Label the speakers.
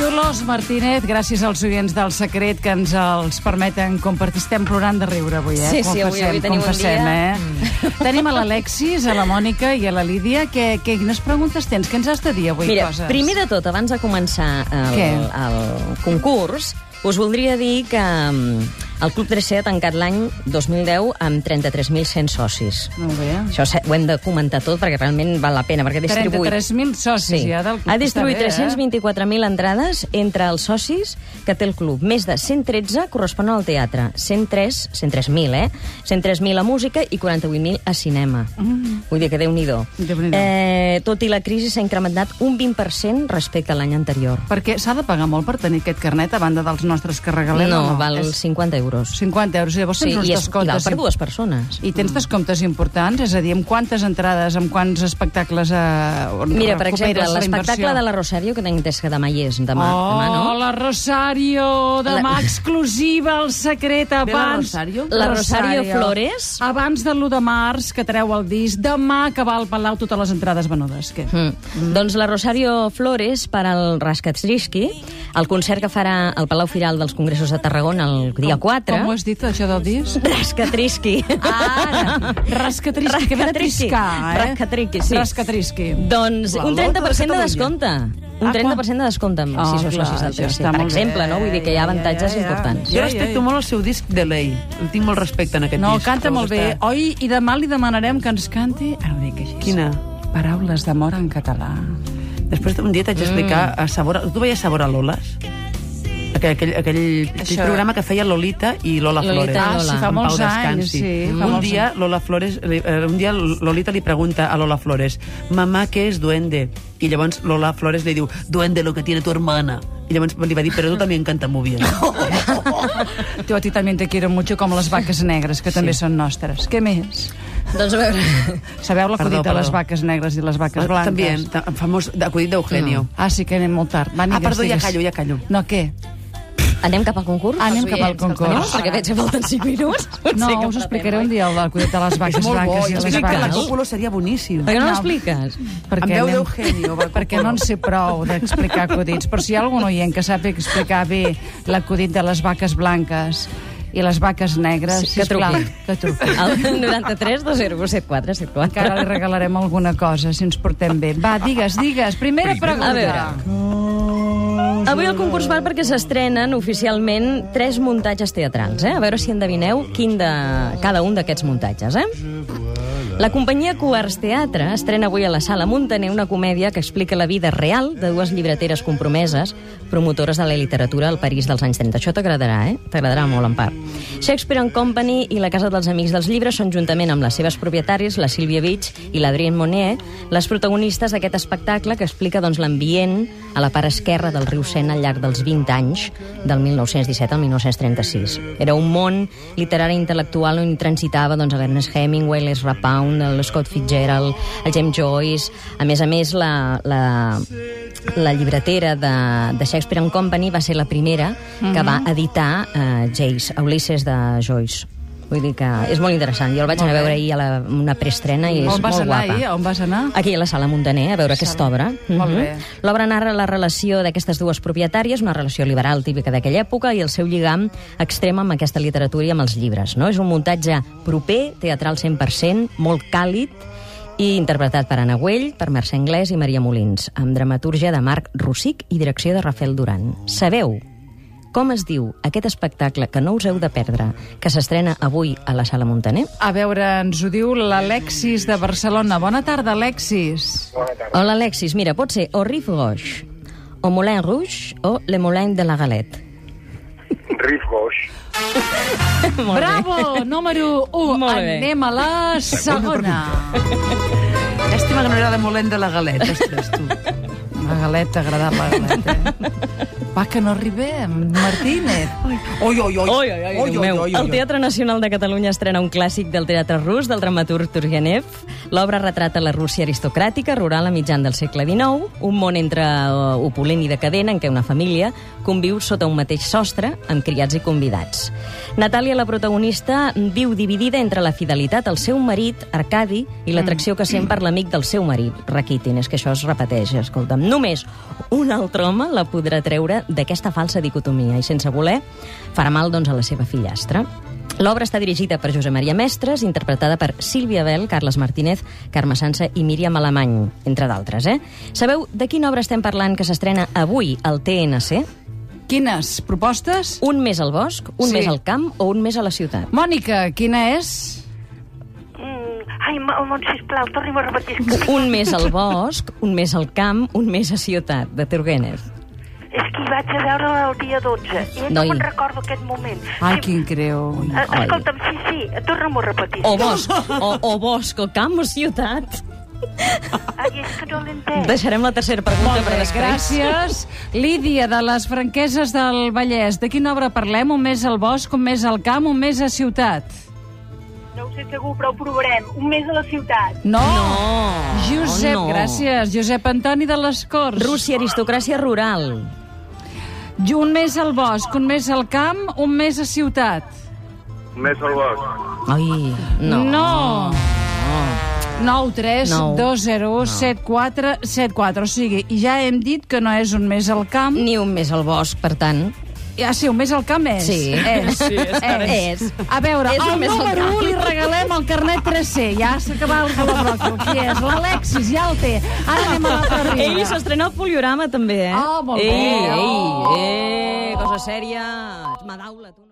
Speaker 1: Carlos Martínez, gràcies als oients del Secret que ens els permeten compartir. Estem plorant de riure avui, eh?
Speaker 2: Sí, sí, avui- avui tenim un
Speaker 1: confessem,
Speaker 2: dia. Mm.
Speaker 1: Eh? Tenim a l'Alexis, a la Mònica i a la Lídia. Que, que, quines preguntes tens? Què ens has de dir avui?
Speaker 2: Mira,
Speaker 1: coses?
Speaker 2: primer de tot, abans de començar el,
Speaker 1: Què?
Speaker 2: el concurs, us voldria dir que mm, el Club 3C ha tancat l'any 2010 amb 33.100 socis.
Speaker 1: Molt bé.
Speaker 2: Això se- ho hem de comentar tot perquè realment val la pena, perquè ha distribuït...
Speaker 1: 33.000 socis ja del club.
Speaker 2: Ha distribuït
Speaker 1: Està bé, eh?
Speaker 2: 324.000 entrades entre els socis que té el club. Més de 113 corresponen al teatre, 103, 103.000, eh? 103.000 a música i 48.000 a cinema. Mm. Vull dir que Déu-n'hi-do.
Speaker 1: Déu-n'hi-do.
Speaker 2: eh, tot i la crisi s'ha incrementat un 20% respecte a l'any anterior.
Speaker 1: Perquè s'ha de pagar molt per tenir aquest carnet a banda dels nostres que regalem.
Speaker 2: no,
Speaker 1: o no?
Speaker 2: val
Speaker 1: És
Speaker 2: 50 euros.
Speaker 1: 50 euros. Llavors tens uns
Speaker 2: i, és, i
Speaker 1: descomptes.
Speaker 2: val per dues persones.
Speaker 1: I tens descomptes importants? És a dir, amb quantes entrades, amb quants espectacles eh,
Speaker 2: Mira, per exemple,
Speaker 1: recuperes la
Speaker 2: l'espectacle
Speaker 1: inversió?
Speaker 2: de la Rosario, que tinc des que demà hi és, demà,
Speaker 1: oh,
Speaker 2: demà no?
Speaker 1: la Rosario, demà
Speaker 2: La-
Speaker 1: exclusiva, el secret abans...
Speaker 3: Rosario?
Speaker 2: La Rosario Flores.
Speaker 1: Abans del 1 de març, que treu el disc, demà que va al Palau totes les entrades venudes. Què?
Speaker 2: Mm. Doncs la Rosario Flores per al Raskatsriski, el concert que farà al Palau Firal dels Congressos de Tarragona el dia 4.
Speaker 1: Com ho has dit, això del disc?
Speaker 2: Rascatriski.
Speaker 1: Ara, rascatrisqui, que ve de
Speaker 2: Rascatrisqui.
Speaker 1: triscar, eh?
Speaker 2: Rascatrisqui, sí.
Speaker 1: Rascatrisqui.
Speaker 2: Doncs
Speaker 1: La
Speaker 2: un
Speaker 1: Lota de
Speaker 2: 30% de
Speaker 1: Catalunya.
Speaker 2: descompte. Un
Speaker 1: Ah,
Speaker 2: 30% de descompte amb
Speaker 1: Ah,
Speaker 2: els sis
Speaker 1: clar,
Speaker 2: socis del
Speaker 1: això
Speaker 2: Tercer,
Speaker 1: està
Speaker 2: per
Speaker 1: molt bé.
Speaker 2: exemple, no? Vull dir que hi
Speaker 1: Ja,
Speaker 2: ha
Speaker 1: ja,
Speaker 2: avantatges
Speaker 1: ja, ja.
Speaker 2: importants.
Speaker 3: Jo
Speaker 1: Ja, ja,
Speaker 3: respecto
Speaker 1: ja.
Speaker 3: molt el seu disc de lei. El tinc molt respecte en aquest
Speaker 1: No,
Speaker 3: disc.
Speaker 1: canta
Speaker 3: que
Speaker 1: molt bé.
Speaker 3: està-
Speaker 1: Oi, i demà li demanarem que ens canti... Ara ho dic així.
Speaker 3: Quina?
Speaker 1: Paraules d'amor en català.
Speaker 3: Després d'un dia t'haig d'explicar a Sabor... Tu veies Sabor a Lolas? Aquell, aquell, aquell, aquell
Speaker 1: Això-
Speaker 3: programa que feia Lolita i Lola
Speaker 2: Lolita,
Speaker 3: Flores.
Speaker 2: Ah, sí, fa
Speaker 3: En
Speaker 1: molts
Speaker 3: Pau
Speaker 1: anys,
Speaker 3: descansi.
Speaker 1: sí, fa
Speaker 3: Un
Speaker 1: molts
Speaker 3: dia, Lola Flores, li- eh, un dia Lolita li pregunta a Lola Flores «Mamà, què és duende?» I llavors Lola Flores li diu «Duende, lo que tiene tu hermana». I llavors li va dir «Pero tú también canta muy bien».
Speaker 1: Jo a ti també te quiero mucho, com les vaques negres, que sí. també són nostres. Què més?
Speaker 2: Doncs a veure...
Speaker 1: Sabeu l'acudit
Speaker 3: Perdó,
Speaker 1: de les
Speaker 3: perdó.
Speaker 1: vaques negres i les vaques blanques?
Speaker 3: També, ta- famós acudit d'Eugenio. No.
Speaker 1: Ah, sí que anem molt tard. Va,
Speaker 3: Ah,
Speaker 1: digues,
Speaker 3: perdó, ja
Speaker 1: digues.
Speaker 3: callo, ja callo.
Speaker 1: No, què?
Speaker 2: Anem cap al concurs?
Speaker 1: Anem cap al concurs.
Speaker 2: No, perquè veig que falten 5 minuts.
Speaker 1: No, us explicaré un dia l'acudit de les vaques blanques i
Speaker 3: jo
Speaker 1: les
Speaker 3: crec que la
Speaker 1: vaques.
Speaker 3: cúpula seria boníssim.
Speaker 2: Per què no
Speaker 1: No.
Speaker 2: l'expliques?
Speaker 3: Amb
Speaker 1: perquè
Speaker 3: veu
Speaker 1: anem-
Speaker 3: d'Eugenio, va,
Speaker 1: perquè no en sé prou d'explicar acudits. Però si hi ha algun oient que sap explicar bé l'acudit de les vaques blanques i les vaques negres,
Speaker 2: Sí, que
Speaker 1: sisplau,
Speaker 2: truqui.
Speaker 1: que truqui.
Speaker 2: El 93 201 74 74.
Speaker 1: Encara li regalarem alguna cosa, si ens portem bé. Va, digues, digues. Primera pregunta.
Speaker 2: A veure. Avui el concurs va perquè s'estrenen oficialment tres muntatges teatrals. Eh? A veure si endevineu quin de cada un d'aquests muntatges. Eh? La companyia Coars Teatre estrena avui a la Sala Montaner una comèdia que explica la vida real de dues llibreteres compromeses, promotores de la literatura al París dels anys 30. Això t'agradarà, eh? T'agradarà molt, en part. Shakespeare and Company i la Casa dels Amics dels Llibres són, juntament amb les seves propietaris, la Sílvia Beach i l'Adrien Monet, les protagonistes d'aquest espectacle que explica doncs, l'ambient a la part esquerra del riu Sena al llarg dels 20 anys, del 1917 al 1936. Era un món literari i intel·lectual on hi transitava doncs, Ernest Hemingway, les Rapound, el Scott Fitzgerald, el James Joyce... A més a més, la, la, la llibretera de, de Shakespeare and Company va ser la primera que va
Speaker 1: Mhm.
Speaker 2: editar eh, Jace, Ulisses de Joyce. Vull dir que és molt interessant. Jo el vaig anar a veure ahir a la, una preestrena i és
Speaker 1: On vas
Speaker 2: molt
Speaker 1: anar
Speaker 2: guapa.
Speaker 1: ahir? On vas anar?
Speaker 2: Aquí a la Sala Montaner, a veure aquesta obra.
Speaker 1: Molt bé.
Speaker 2: Mhm. L'obra narra la relació d'aquestes dues propietàries, una relació liberal típica d'aquella època, i el seu lligam extrem amb aquesta literatura i amb els llibres. No? És un muntatge proper, teatral 100%, molt càlid, i interpretat per Anna Güell, per Mercè Anglès i Maria Molins, amb dramatúrgia de Marc Rosic i direcció de Rafael Duran. Sabeu com es diu aquest espectacle que no us heu de perdre, que s'estrena avui a la Sala Montaner?
Speaker 1: A veure, ens ho diu l'Alexis de Barcelona. Bona tarda, Alexis.
Speaker 2: Hola, Alexis. Mira, pot ser o Riff Gauche, o Moulin Rouge, o Le Moulin de la Galette.
Speaker 4: Riff Bosch.
Speaker 2: Molt
Speaker 1: Bravo, número 1.
Speaker 2: Molt bé.
Speaker 1: Anem a la segona.
Speaker 3: Llàstima que no era de Molent de la Galeta. Ostres, tu.
Speaker 1: La galeta, ha agradat la galeta. Eh? Va, que no arribem. Martínez.
Speaker 3: Oi, oi, oi.
Speaker 2: Oi, oi, oi, Déu meu. El Teatre Nacional de Catalunya estrena un clàssic del teatre rus del dramaturg Turgenev. L'obra retrata la Rússia aristocràtica, rural a mitjan del segle XIX, un món entre eh, opulent i decadent en què una família conviu sota un mateix sostre amb criats i convidats. Natàlia, la protagonista, viu dividida entre la fidelitat al seu marit, Arcadi, i l'atracció que sent per l'amic del seu marit, Rakitin. És que això es repeteix, escolta'm. Només un altre home la podrà treure d'aquesta falsa dicotomia i, sense voler, farà mal doncs, a la seva fillastra. L'obra està dirigida per Josep Maria Mestres, interpretada per Sílvia Bel, Carles Martínez, Carme Sansa i Míriam Alemany, entre d'altres. Eh? Sabeu de quina obra estem parlant que s'estrena avui al TNC?
Speaker 1: Quines propostes?
Speaker 2: Un més al bosc, un
Speaker 1: Sí.
Speaker 2: sí. més al camp o un més a la ciutat?
Speaker 1: Mònica, quina és?
Speaker 5: Mm, ai, Mont, sisplau, torni'm a repetir. És que,
Speaker 2: Un més al bosc, un més al camp, un més a ciutat, de Turgenev.
Speaker 5: és que hi vaig a veure el dia 12. I no, no
Speaker 2: Noi.
Speaker 5: me'n recordo aquest moment.
Speaker 1: Ai,
Speaker 5: sí,
Speaker 1: quin greu.
Speaker 5: eh, escolta'm, sí, sí, torna'm a repetir.
Speaker 2: O bosc, o, o bosc, o camp, o ciutat.
Speaker 5: Ai, és que no l'he entès.
Speaker 2: Deixarem la tercera pregunta per
Speaker 1: Bé,
Speaker 2: després.
Speaker 1: gràcies. Lídia, de les franqueses del Vallès, de quina obra parlem? Un més al bosc, un més al camp, un més a ciutat?
Speaker 6: No ho sé segur, però ho provarem. Un mes a la ciutat.
Speaker 1: No!
Speaker 2: No, Oh,
Speaker 1: Josep,
Speaker 2: no.
Speaker 1: gràcies. Josep Antoni de les Corts.
Speaker 2: Rússia, aristocràcia rural.
Speaker 1: I Un més al bosc, un més al camp, un més a ciutat.
Speaker 4: Més al bosc.
Speaker 2: Ai, no.
Speaker 1: No. 9 3
Speaker 2: No.
Speaker 1: 2 0 1 7 4 7 4 O sigui, ja hem dit que no és un més al camp
Speaker 2: Ni un més al bosc, per tant.
Speaker 1: Ah, sí, un més al camp és
Speaker 2: Sí.
Speaker 1: és,
Speaker 2: Sí, és que
Speaker 1: és.
Speaker 2: és.
Speaker 1: A veure,
Speaker 2: És un
Speaker 1: al
Speaker 2: més al
Speaker 1: número
Speaker 2: camp.
Speaker 1: 1 li regalem el carnet 3C Ja s'ha acabat el color Qui és? L'Alexis, ja el té Ara anem a la parrilla
Speaker 2: Ei, s'estrena el poliorama, també, eh?
Speaker 1: Ah, molt bé.
Speaker 2: ei, eh, Ei,
Speaker 1: Oh.
Speaker 2: ei, cosa sèria. Madaula, tu.